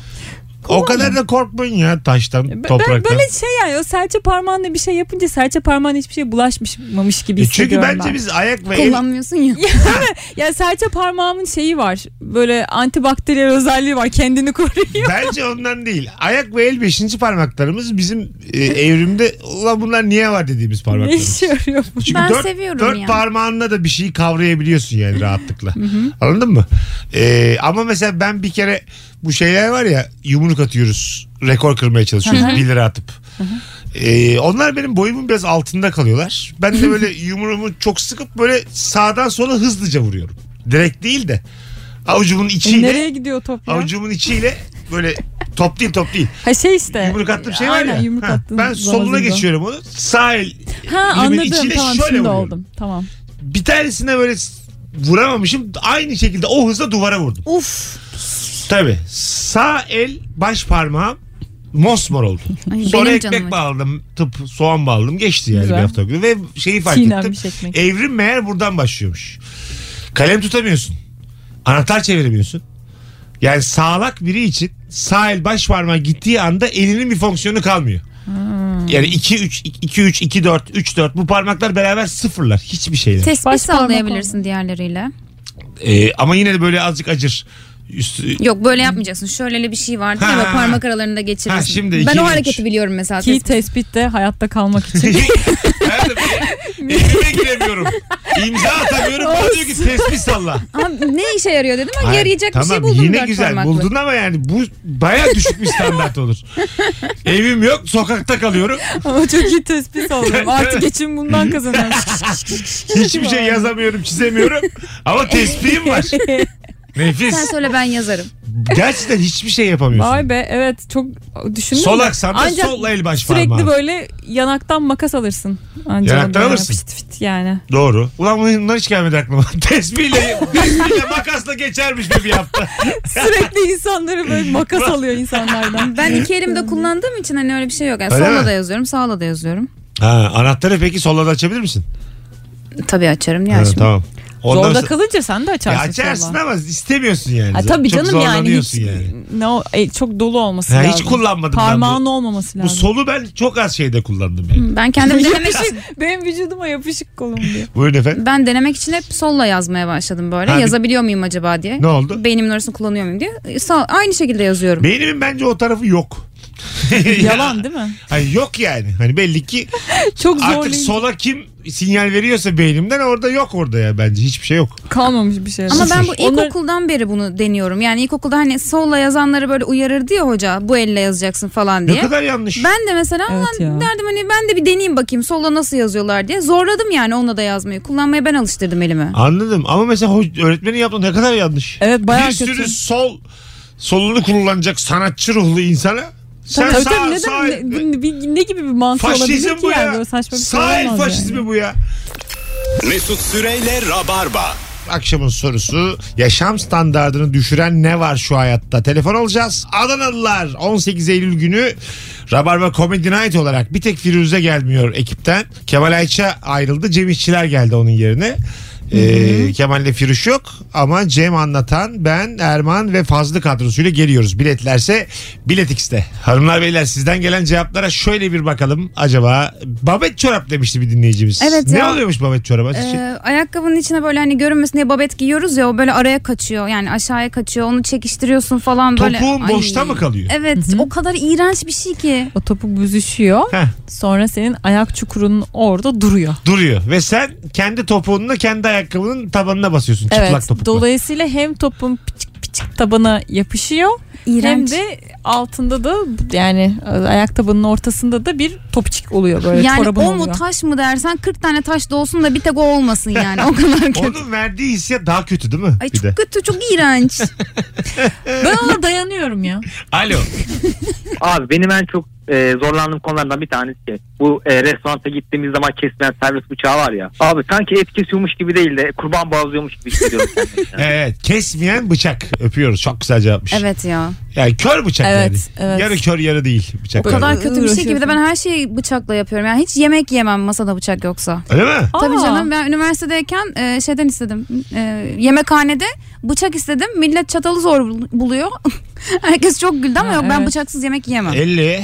S2: O kadar da korkmayın ya taştan,
S3: Be-
S2: topraktan. E
S3: Ben böyle şey yani o serçe parmağınla bir şey yapınca serçe parmağın hiçbir şeye bulaşmamış gibi
S2: E Çünkü
S3: hissediyorum
S2: bence
S3: ben.
S2: biz ayak ve el
S4: Kullanmıyorsun ya.
S3: Yani serçe parmağımın şeyi var. Böyle antibakteriyel özelliği var. Kendini koruyor.
S2: Bence ondan değil. Ayak ve el beşinci parmaklarımız bizim e, evrimde ulan bunlar niye var dediğimiz
S3: Ne
S2: parmaklarımız.
S3: işe yarıyor bu?
S2: Çünkü
S4: Ben
S2: dört,
S4: seviyorum
S2: dört
S4: ya.
S2: parmağınla da bir şeyi kavrayabiliyorsun yani rahatlıkla. Anladın mı? E, ama mesela ben bir kere bu şeyler var ya yumruk atıyoruz. Rekor kırmaya çalışıyoruz. 1 lira atıp. E, onlar benim boyumun biraz altında kalıyorlar. Ben de böyle yumruğumu çok sıkıp böyle sağdan sola hızlıca vuruyorum. Direkt değil de avucumun
S3: E,
S2: içiyle
S3: nereye gidiyor top ya?
S2: avucumun içiyle böyle top değil top değil.
S3: Ha şey işte.
S2: Yumruk attığım şey var
S3: Aynen,
S2: ya.
S3: Yumruk
S2: Ha,
S3: attığın
S2: ben soluna
S3: zamazingo.
S2: geçiyorum onu. Sağ el.
S3: Ha
S2: elimin
S3: anladım
S2: içiyle
S3: tamam
S2: şöyle
S3: şimdi
S2: vuruyorum.
S3: oldum. Tamam.
S2: Bir tanesine böyle s- vuramamışım. Aynı şekilde o hızla duvara vurdum.
S4: Uf.
S2: Tabii. Sağ el baş parmağım mosmor oldu.
S4: Ay,
S2: Sonra
S4: benim
S2: ekmek
S4: canım acı-
S2: bağladım. Tıp soğan bağladım. Geçti yani
S3: Güzel.
S2: bir hafta gibi. Ve şeyi fark ettim.
S3: Çiğnenmiş ekmek.
S2: Evrim meğer buradan başlıyormuş. Kalem tutamıyorsun. Anahtar çeviremiyorsun. Yani sağlak biri için sağ el baş parmağı gittiği anda elinin bir fonksiyonu kalmıyor.
S4: Hmm.
S2: Yani 2 3 2 3 2 4 3 4 bu parmaklar beraber sıfırlar hiçbir şeyler.
S4: Tespih
S3: Baş parmak
S4: sallayabilirsin diğerleriyle.
S2: Ee, ama yine de böyle azıcık acır. Üstü,
S4: Yok böyle yapmayacaksın. Şöyle bir şey vardı
S2: Ha.
S4: ya ve parmak aralarında geçirirsin.
S2: Ha, şimdi
S4: ben
S2: iki,
S4: o
S2: üç.
S4: hareketi biliyorum mesela.
S3: Ki
S4: Tespih-
S3: tespitte hayatta kalmak için.
S2: Hayatım, evime giremiyorum. İmza atamıyorum. O diyor ki tespih salla.
S4: Abi, ne işe yarıyor dedim ben yarayacak
S2: tamam,
S4: bir şey buldum
S2: yine
S4: dört
S2: güzel
S4: parmaklı.
S2: buldun ama yani bu baya düşük bir standart olur. Evim yok sokakta kalıyorum.
S3: Ama çok iyi tespit oldum. Artık geçim bundan kazanıyorum.
S2: Hiçbir şey yazamıyorum çizemiyorum. Ama tespihim var.
S4: Sen
S2: Nefis.
S4: söyle ben yazarım.
S2: Gerçekten hiçbir şey yapamıyorsun.
S3: Vay be evet çok düşündüm.
S2: Sol
S3: de.
S2: aksam da
S3: Ancak
S2: sol el baş
S3: Sürekli
S2: parmağı.
S3: böyle yanaktan makas alırsın. Ancak
S2: Yanaktan
S3: böyle
S2: alırsın.
S3: Fit fit yani.
S2: Doğru. Ulan bunlar hiç gelmedi aklıma. Tespihle, tespihle makasla geçermiş be bir hafta.
S3: Sürekli insanları böyle makas alıyor insanlardan.
S4: Ben iki elimde kullandığım için hani öyle bir şey yok. Yani
S2: Öyle
S4: solla
S2: mi?
S4: da yazıyorum, sağla da yazıyorum.
S2: Ha, anahtarı peki sola da açabilir misin?
S4: Tabii açarım ya
S2: Ha,
S4: şimdi.
S2: tamam. Ondan
S3: Zorda
S2: sonra-
S3: kalınca sen de
S2: Ya
S3: açarsın.
S2: açarsın
S3: sabah.
S2: ama istemiyorsun yani.
S3: Ha, tabii
S2: Çok
S3: canım yani, hiç,
S2: zorlanıyorsun yani.
S3: No, e, çok dolu olması
S2: Ha,
S3: lazım.
S2: hiç kullanmadım ben
S3: Parmağın
S2: bu-
S3: olmaması
S2: Bu
S3: lazım.
S2: solu ben çok az şeyde kullandım yani.
S4: Ben kendim denemek için
S3: Benim vücuduma yapışık kolum diye.
S2: Buyurun efendim.
S4: ben denemek için hep solla yazmaya başladım böyle.
S2: Ha, bir-
S4: Yazabiliyor muyum acaba diye.
S2: Ne oldu?
S4: Beynimin orasını kullanıyor muyum diye. E, Sağ, aynı şekilde yazıyorum.
S2: Beynimin bence o tarafı yok.
S3: Yalan değil mi?
S2: Hani yok yani. Hani belli ki
S3: Çok
S2: artık
S3: zorlayıcı.
S2: sola kim sinyal veriyorsa beynimden orada yok orada ya bence hiçbir şey yok.
S3: Kalmamış bir şey.
S4: Ama ben bu
S3: Sıfır. Onlar-
S4: ilkokuldan beri bunu deniyorum. Yani ilkokulda hani solla yazanları böyle uyarırdı ya hoca bu elle yazacaksın falan
S2: Ne
S4: diye.
S2: kadar yanlış.
S4: Ben de mesela
S3: Evet
S4: "Lan"
S3: ya.
S4: derdim hani ben de bir deneyeyim bakayım solla nasıl yazıyorlar diye. Zorladım yani onunla da yazmayı. Kullanmaya ben alıştırdım elimi.
S2: Anladım ama mesela ho- öğretmenin yaptığı ne kadar yanlış.
S3: Evet bayağı
S2: bir
S3: kötü.
S2: sürü sol solunu kullanacak sanatçı ruhlu insana sen
S3: Tabii
S2: sağ,
S3: tabii neden
S2: sağ-
S3: ne, bu- bir- ne gibi bir mantığı
S2: faşizm
S3: olabilir ki
S2: bu
S3: yani
S2: ya.
S3: böyle saçma bir şey
S2: sağ el
S3: olamaz
S2: faşizmi
S3: yani.
S2: bu ya.
S1: Mesut Süreyle Rabarba.
S2: Akşamın sorusu yaşam standartını düşüren ne var şu hayatta? Telefon alacağız. Adanalılar 18 Eylül günü Rabarba Comedy Night olarak bir tek Firuze gelmiyor ekipten. Kemal Ayça ayrıldı. Cem İşçiler geldi onun yerine. Ee, Kemal'le Firuş yok ama Cem anlatan ben Erman ve Fazlı kadrosuyla geliyoruz. Biletlerse Bilet X'te. Hanımlar beyler sizden gelen cevaplara şöyle bir bakalım. Acaba babet çorap demişti bir dinleyicimiz.
S4: Evet
S2: ne
S4: ya.
S2: oluyormuş babet çoraba?
S4: Ee, ayakkabının içine böyle hani görünmesin diye babet giyiyoruz ya o böyle araya kaçıyor yani aşağıya kaçıyor onu çekiştiriyorsun falan böyle.
S2: Topuğun
S4: Ay.
S2: boşta mı kalıyor?
S4: Evet o kadar iğrenç bir şey ki.
S3: O topuk büzüşüyor. Sonra senin ayak çukurunun orada duruyor.
S2: Duruyor ve sen kendi topuğunla kendi ayakkabının tabanına basıyorsun çıplak
S3: Evet.
S2: topukla.
S3: Dolayısıyla hem topun piçik piçik tabana yapışıyor.
S4: İğrenç.
S3: Hem de altında da yani e, ayak tabanının ortasında da bir topçik oluyor böyle
S4: yani o
S3: çorabın oluyor.
S4: mu taş mı dersen 40 tane taş da olsun da bir tek o olmasın yani o kadar kötü.
S2: Onun verdiği hissiyat daha kötü değil mi?
S4: Ay
S2: bir
S4: çok
S2: de.
S4: kötü çok iğrenç.
S3: ben ona dayanıyorum ya.
S2: Alo.
S10: Abi benim en çok e, zorlandığım konulardan bir tanesi bu e, restoranta gittiğimiz zaman kesilen servis bıçağı var ya. Abi sanki et kesiyormuş gibi değil de kurban boğazlıyormuş gibi hissediyorum. kendimi.
S2: Evet kesmeyen bıçak öpüyoruz çok güzel cevapmış.
S4: evet ya.
S2: Yani kör bıçak
S3: Evet,
S2: yani.
S3: evet.
S2: Yarı kör yarı değil
S4: O
S2: bıçak.
S4: kadar kötü bir şey ki bir de
S3: Uğraşıyorsun.
S4: ben her şeyi bıçakla yapıyorum. Yani hiç yemek yemem masada bıçak yoksa.
S2: Öyle mi?
S4: Tabii
S3: Aa.
S4: canım ben üniversitedeyken e, şeyden istedim. E, yemekhanede bıçak istedim. Millet çatalı zor bul- buluyor. Herkes çok güldü ama
S3: Ha,
S4: yok ben
S3: evet.
S4: bıçaksız yemek yemem.
S2: 50.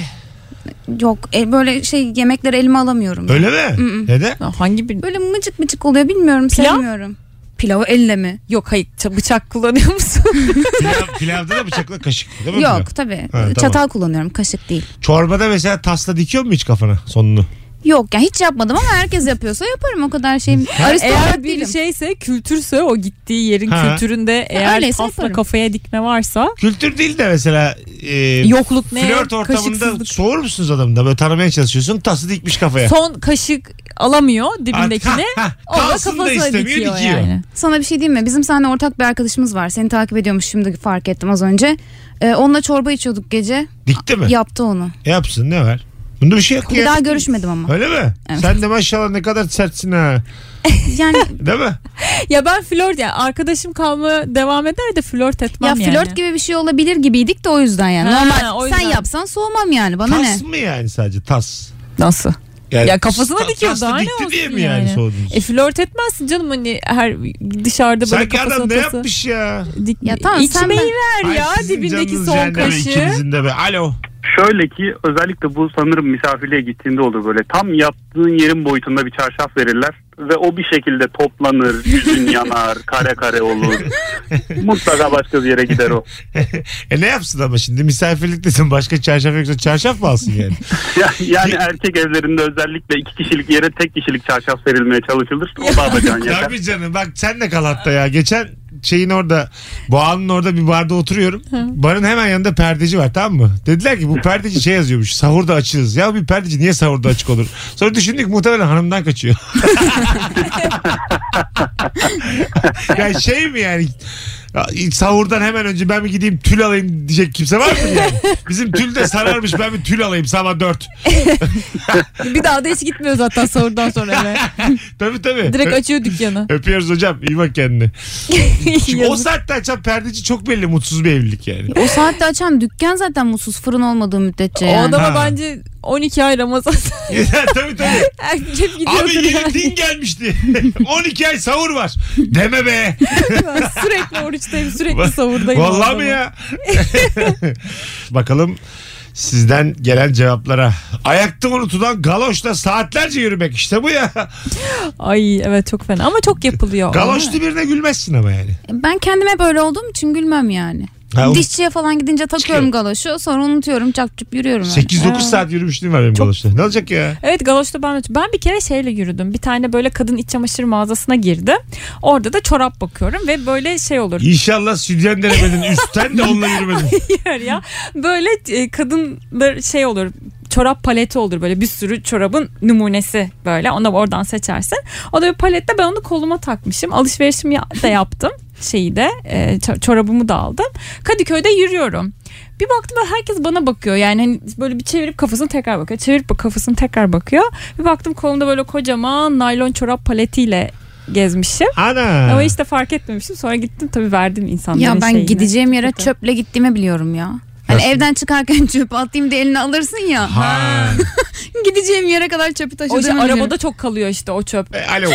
S4: yok e, böyle şey yemekleri elime alamıyorum.
S2: Öyle mi?
S4: Mm-mm.
S2: Neden?
S3: Ya Hangi bir
S4: Böyle mıcık mıcık oluyor bilmiyorum
S3: Pilav?
S4: sevmiyorum. Pilavı elle mi?
S3: Yok hayır ça- bıçak kullanıyor musun?
S2: Pilav, pilavda da bıçakla kaşık değil mi? pilav?
S4: Yok tabii.
S2: tamam.
S4: Çatal kullanıyorum kaşık değil.
S2: Çorbada mesela tasla dikiyor mu hiç kafana sonunu?
S4: Yok ya hiç yapmadım ama herkes yapıyorsa yaparım o kadar şeyim. Aristokrat
S3: eğer bir şey-
S4: değilim.
S3: şeyse kültürse o gittiği yerin
S2: Ha.
S3: kültüründe eğer
S4: öyleyse
S3: tasla
S4: yaparım.
S3: kafaya dikme varsa
S2: Kültür değil de mesela e,
S3: yokluk ne
S2: flört ortamında
S3: kaşıksızlık.
S2: soğur musunuz adamda? Böyle tanımaya çalışıyorsun tası dikmiş kafaya.
S3: Son kaşık alamıyor
S2: Artık-
S3: dibindekini.
S2: Ha, ha,
S3: O da
S2: kalsın da
S3: kafasına
S2: istemiyor,
S3: dikiyor,
S2: dikiyor.
S3: yani.
S4: Sana bir şey diyeyim mi? Bizim sahne ortak bir arkadaşımız var. Seni takip ediyormuş şimdi fark ettim az önce. Ee, onunla çorba içiyorduk gece.
S2: Dikti mi?
S4: Yaptı onu.
S2: Yapsın ne var? Bunda bir şey yok
S4: Bir
S2: ya.
S4: daha görüşmedim ama.
S2: Öyle mi?
S4: Evet.
S2: Sen de maşallah ne kadar sertsin ha.
S4: Yani
S2: Değil mi?
S3: Ya ben flört ya arkadaşım kalmaya devam eder de flört etmem
S4: ya
S3: yani.
S4: flört gibi bir şey olabilir gibiydik de o yüzden yani.
S3: Ha,
S4: Normal
S3: o yüzden.
S4: sen yapsan soğumam yani bana ne?
S2: tas mı yani sadece tas?
S3: Nasıl?
S2: Yani
S3: Ya kafasına dikiyor,
S2: tasla
S3: daha ne
S2: dikti diye
S3: olsun
S2: mi yani,
S3: yani?
S2: soğudunuz?
S3: E flört etmezsin canım hani her dışarıda böyle
S2: Sanki
S3: kafasına
S2: adam ne
S3: tası-
S2: yapmış ya?
S3: Dik,
S4: Ya tamam, sen
S3: İçmeyi ver
S2: Ay,
S3: ya
S2: sizin
S3: dibindeki
S2: canınız
S3: son
S2: cehenneme
S3: kaşığı.
S2: ikinizin de be. Alo.
S11: Şöyle ki özellikle bu sanırım misafirliğe gittiğinde olur böyle. Tam yaptığın yerin boyutunda bir çarşaf verirler. Ve o bir şekilde toplanır, yüzün yanar, kare kare olur. Mutlaka başka bir yere gider o.
S2: E ne yapsın ama şimdi misafirliktesin başka çarşaf yoksa çarşaf mı alsın yani?
S11: Ya- Yani erkek evlerinde özellikle iki kişilik yere tek kişilik çarşaf serilmeye çalışılır. O da can yeter.
S2: Tabii canım bak sen de kal hatta ya. Geçen şeyin orada Boğa'nın orada bir barda oturuyorum. Barın hemen yanında perdeci var tamam mı? Dediler ki bu perdeci şey yazıyormuş sahurda açığız. Ya bir perdeci niye sahurda açık olur? Sonra düşündük muhtemelen hanımdan kaçıyor. yani şey mi yani ya, sahurdan hemen önce ben bir gideyim tül alayım diyecek kimse var mı yani? Bizim tül de sararmış ben bir tül alayım sabah dört.
S3: Bir daha da hiç gitmiyor zaten sahurdan sonra eve.
S2: Tabii tabii.
S3: Direkt açıyor dükkanı.
S2: Öpüyoruz hocam. iyi bak kendine. Çünkü o
S3: Yazık.
S2: saatte açan perdeci çok belli mutsuz bir evlilik yani.
S4: O saatte açan dükkan zaten mutsuz fırın olmadığı müddetçe
S3: O
S4: yani.
S3: adama
S2: Ha.
S3: bence 12 ay Ramazan
S2: tabii tabii.
S3: hep gidiyordur
S2: Abi yeni din gelmişti. 12 ay sahur var. Deme be.
S3: yani. sürekli oruçtayım sürekli sahurdayım.
S2: Vallahi
S3: o
S2: mi
S3: adamın.
S2: ya? Bakalım sizden gelen cevaplara. Ayakta unutulan galoşla saatlerce yürümek işte bu ya.
S3: Ay evet çok fena ama çok yapılıyor.
S2: Galoşlu birine gülmezsin ama yani.
S4: Ben kendime böyle olduğum için gülmem yani.
S2: Ha, o-
S4: Dişçiye falan gidince takıyorum galoşu sonra unutuyorum çap çup yürüyorum. yani.
S2: 8-9 saat yürümüşlüğüm var benim galoşla. Ne olacak ya?
S3: Evet galoşta ben de- Ben bir kere şeyle yürüdüm. Bir tane böyle kadın iç çamaşır mağazasına girdim. Orada da çorap bakıyorum ve böyle şey olur.
S2: İnşallah sütyen denemedin. Üstten de onunla yürümedin.
S3: Hayır ya. Böyle e, kadınlar şey olur çorap paleti olur böyle bir sürü çorabın numunesi böyle onu oradan seçersin. O da bir palette ben onu koluma takmışım. Alışverişimi ya- da yaptım şeyi de e, ço- çorabımı da aldım. Kadıköy'de yürüyorum. Bir baktım böyle herkes bana bakıyor. Yani hani böyle bir çevirip kafasını tekrar bakıyor. Çevirip bak- kafasını tekrar bakıyor. Bir baktım kolumda böyle kocaman naylon çorap paletiyle gezmişim.
S2: Ana.
S3: Ama hiç de fark etmemişim. Sonra gittim tabii verdim insanların
S4: Ya ben
S3: şeyini.
S4: gideceğim yere
S3: Tabii.
S4: çöple gittiğimi biliyorum ya. Hani
S2: Nasıl?
S4: evden çıkarken çöp atayım da eline alırsın ya.
S2: Ha.
S4: Gideceğim yere kadar çöpü
S3: O
S4: taşıdığımı
S3: işte
S4: biliyorum.
S3: arabada çok kalıyor işte o çöp.
S2: E, alo.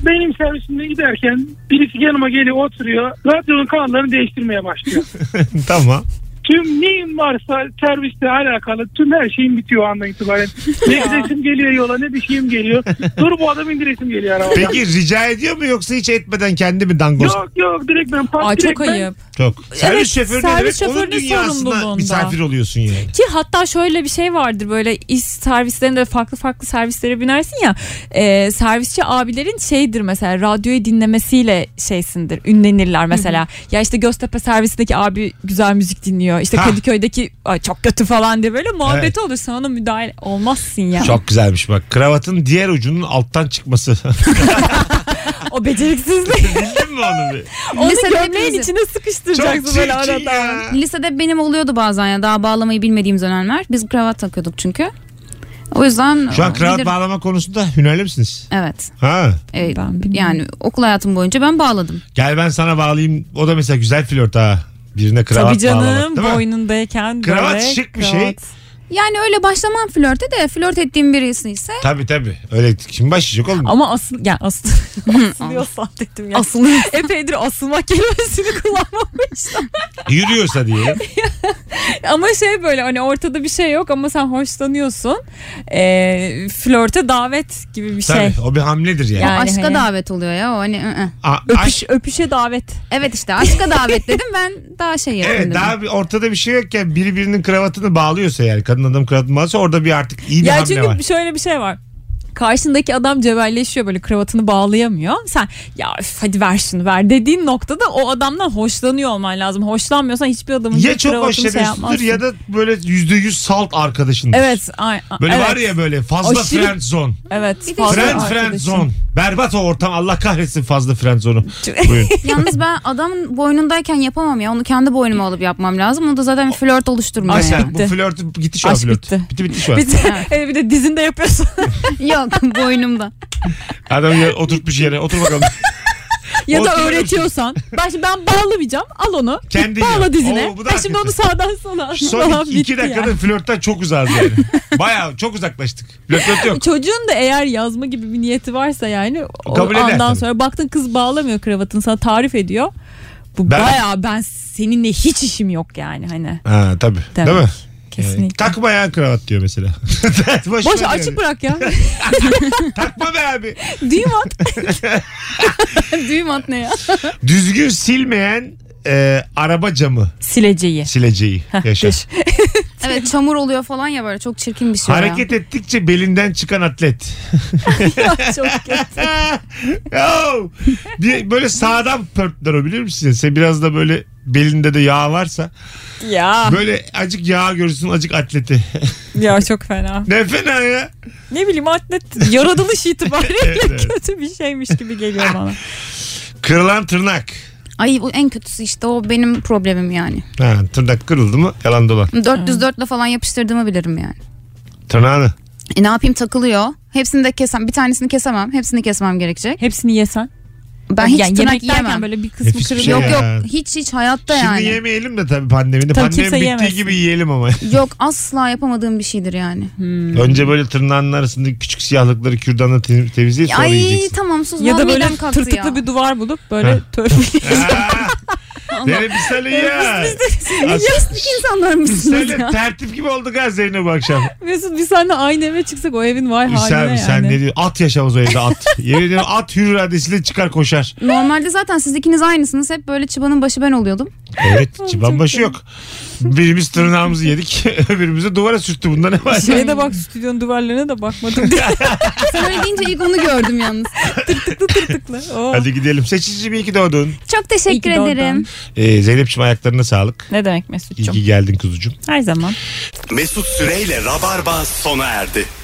S12: Benim servisimde giderken birisi yanıma geliyor oturuyor. Radyonun kanallarını değiştirmeye başlıyor.
S2: tamam.
S12: Tüm neyim varsa servisle alakalı tüm her şeyim bitiyor o andan itibaren. ne gidesim geliyor yola ne bir şeyim geliyor. Dur bu adam indiresim geliyor arabadan.
S2: Peki rica ediyor mu yoksa hiç etmeden kendi mi dangoz?
S12: Yok yok direkt ben pat
S3: Aa,
S12: direkt
S3: çok
S12: ben-
S3: ayıp.
S2: Çok.
S3: Evet,
S2: servis şoförü ne
S3: servis
S2: demek? Onun
S3: şoförünün
S2: dünyasına
S3: sorumluluğunda.
S2: misafir oluyorsun yani.
S3: Ki hatta şöyle bir şey vardır böyle iş servislerinde farklı farklı servislere binersin ya e, servisçi abilerin şeydir mesela radyoyu dinlemesiyle şeysindir ünlenirler mesela. Ya işte Göztepe servisindeki abi güzel müzik dinliyor işte
S2: Ha.
S3: Kadıköy'deki "Ay çok kötü falan diye böyle muhabbet
S2: Evet.
S3: olur sen ona müdahale olmazsın ya.
S2: Çok güzelmiş bak. Kravatın diğer ucunun alttan çıkması.
S3: O beceriksizlik.
S2: Bildin mi onu bir?
S3: Onu
S4: Lisede
S3: gömleğin
S4: hepimizi-
S3: içine sıkıştıracaksın böyle
S2: Çok çirkin
S3: arada.
S2: ya.
S4: Lisede benim oluyordu bazen ya daha bağlamayı bilmediğimiz dönemler. Biz kravat takıyorduk çünkü. O yüzden
S2: Şu an kravat
S4: bilir-
S2: bağlama konusunda hünerli misiniz?
S4: Evet.
S2: Ha.
S4: Evet.
S3: Ben bilmiyorum.
S4: yani okul hayatım boyunca ben bağladım.
S2: Gel ben sana bağlayayım. O da mesela güzel flört ha. Birine kravat
S3: Tabii canım
S2: bağlamak değil mi?
S3: boynundayken
S2: Kravat
S3: böyle
S2: şık bir şey.
S4: Yani öyle başlamam flörte de flört ettiğim birisi ise
S2: Tabii tabii. Öyle kim başlayacak oğlum?
S3: Ama asıl yani asıl asılıyor zannettim ya.
S4: asılıyor.
S3: Epeydir asılma kelimesini kullanmamışlar.
S2: Yürüyorsa
S3: Şey.
S2: diye.
S3: ama şey böyle hani ortada bir şey yok ama sen hoşlanıyorsun. Ee, flörte davet gibi bir şey.
S2: Tabii o bir hamledir yani.
S3: Yani
S4: aşka
S3: hani-
S4: davet oluyor ya o hani. ı, ı.
S2: A- aşk-
S3: Öpüş, öpüşe davet.
S4: Evet işte aşka davet dedim ben daha şey yapayım
S2: Evet
S4: dedim.
S2: daha bir ortada bir şey yokken biri birinin kravatını bağlıyorsa yani kadın adam kravatını bağlıyorsa orada bir artık iyi bir
S3: ya
S2: hamle
S3: çünkü
S2: var.
S3: şöyle bir şey var. Karşındaki adam cebelleşiyor böyle kravatını bağlayamıyor. Sen ya üf, hadi ver şunu ver dediğin noktada o adamdan hoşlanıyor olman lazım. Hoşlanmıyorsan hiçbir adamın
S2: Ya
S3: bir
S2: çok
S3: kravatını şey
S2: hoşlanıyorsundur
S3: yapmazsın.
S2: ya da böyle yüzde yüz salt arkadaşındır.
S3: Evet. Ay, ay-
S2: Böyle
S3: evet,
S2: var ya böyle fazla
S3: Aşırı-
S2: friend zone.
S3: Evet.
S4: de
S3: fazla
S2: Friend friend
S3: arkadaşın.
S2: zone. Berbat o ortam Allah kahretsin fazla friend zone'u. Buyurun.
S4: Yalnız ben adamın boynundayken yapamam ya. Onu kendi boynuma alıp yapmam lazım. O da zaten bir flört oluşturmuyor
S2: Mesela
S4: yani.
S2: bu flört gitti şu an
S3: Aşk
S2: flört. Bitti.
S3: bitti.
S2: bitti şu an.
S3: Bir de, bir de dizinde yapıyorsun.
S4: Yok boynumda.
S2: Adam yer, oturtmuş yere otur bakalım.
S3: ya da
S2: Oturuyorum.
S3: öğretiyorsan. Ben, şimdi ben bağlamayacağım. Al onu.
S2: Kendin
S3: Bağla
S2: yap.
S3: dizine.
S2: Oo, bu da
S3: ben şimdi onu
S2: hakikaten.
S3: sağdan sola al.
S2: Son
S3: Falan
S2: iki, iki
S3: bitti yani.
S2: dakikada flörtten çok uzağız yani. Baya çok uzaklaştık. Flört flört yok.
S3: Çocuğun da eğer yazma gibi bir niyeti varsa yani o
S2: E, Kabul eder
S3: andan
S2: tabii.
S3: sonra baktın kız bağlamıyor kravatını sana tarif ediyor. Bu
S2: Ben-
S3: bayağı ben seninle hiç işim yok yani hani.
S2: Ha tabii.
S3: Tabii.
S2: Değil mi? Yani,
S3: Kesinlikle.
S2: takma ya kravat diyor mesela. Boş,
S3: Boş
S2: ver
S3: açık
S2: yani.
S3: bırak ya.
S2: Takma be abi.
S3: Düğüm at.
S4: Düğüm at ne ya?
S2: Düzgün silmeyen e, araba camı
S3: Sileceği.
S2: sileceği yaşa.
S3: Geç.
S4: Evet çamur oluyor falan ya böyle çok çirkin bir şey
S2: Hareket ettikçe belinden çıkan atlet.
S3: Çok kötü.
S2: Yo! Bir, böyle sağdan pörtler o biliyor musun? Sen biraz da böyle belinde de yağ varsa
S3: Ya.
S2: böyle acık yağ görürsün acık atleti.
S3: Ya çok fena.
S2: ne fena ya.
S3: Ne bileyim atlet yaratılış itibariyle
S2: Evet, evet.
S3: kötü bir şeymiş gibi geliyor bana.
S2: Kırılan tırnak.
S4: ya. Ay bu en kötüsü işte o benim problemim yani.
S2: Ha, tırnak kırıldı mı yalan dolan.
S4: 404 ile falan yapıştırdığımı bilirim yani.
S2: Tırnağını.
S4: E ne yapayım takılıyor. Hepsini de kesem. Bir tanesini kesemem. Hepsini kesmem gerekecek.
S3: Hepsini yesen.
S4: Ben hiç
S3: yani
S4: tırnak
S3: yemek yerken
S4: yemem.
S3: böyle bir kısmı
S2: Nefis bir
S3: kırılıyor.
S2: şey
S4: Yok
S2: ya.
S4: yok hiç hiç hayatta
S2: Şimdi
S4: yani.
S2: yemeyelim de tabii pandemide.
S3: Tabii
S2: Pandemi
S3: kimse
S2: bittiği
S3: yemesin.
S2: gibi yiyelim ama.
S4: Yok asla yapamadığım bir şeydir yani.
S2: Önce böyle tırnağının arasındaki küçük siyahlıkları kürdanla te- temizleyip sonra
S4: Ay
S2: yiyeceksin.
S4: tamam sus.
S3: Ya da böyle
S4: midem kalktı
S3: tırtıklı
S4: ya.
S3: bir duvar bulup böyle
S2: Ha.
S3: törpüleyiz.
S2: Aa, Beni bir salın ya.
S4: Pislik insanlar mısınız
S2: Söyle
S4: ya?
S2: tertip gibi olduk ha Zeynep bu akşam.
S3: Mesut biz seninle aynı eve çıksak o evin vay haline
S2: Sen,
S3: yani.
S2: sen ne diyorsun? At yaşamaz o evde at. Yemin ediyorum at hür iradesiyle çıkar koşar.
S4: Normalde zaten siz ikiniz aynısınız. Hep böyle çıbanın başı ben oluyordum.
S2: Evet çıban başı yok. Birimiz tırnağımızı yedik. Öbürümüz de duvara sürttü. Bunda ne var?
S3: Şeye de bak stüdyonun duvarlarına da bakmadım diye
S4: Sen öyle deyince ilk onu gördüm yalnız.
S3: tıklı. Oo.
S2: Hadi gidelim. Seçici iyi ki doğdun.
S4: Çok
S3: İyi
S4: teşekkür
S3: ki doğdun.
S4: ederim.
S2: Ee, Zeynep'ciğim ayaklarına sağlık.
S3: Ne demek
S2: İyi
S3: Mesut'cum?
S2: ki geldin kuzucuğum.
S3: Her zaman.
S1: Mesut Süreyle Rabarba sona erdi.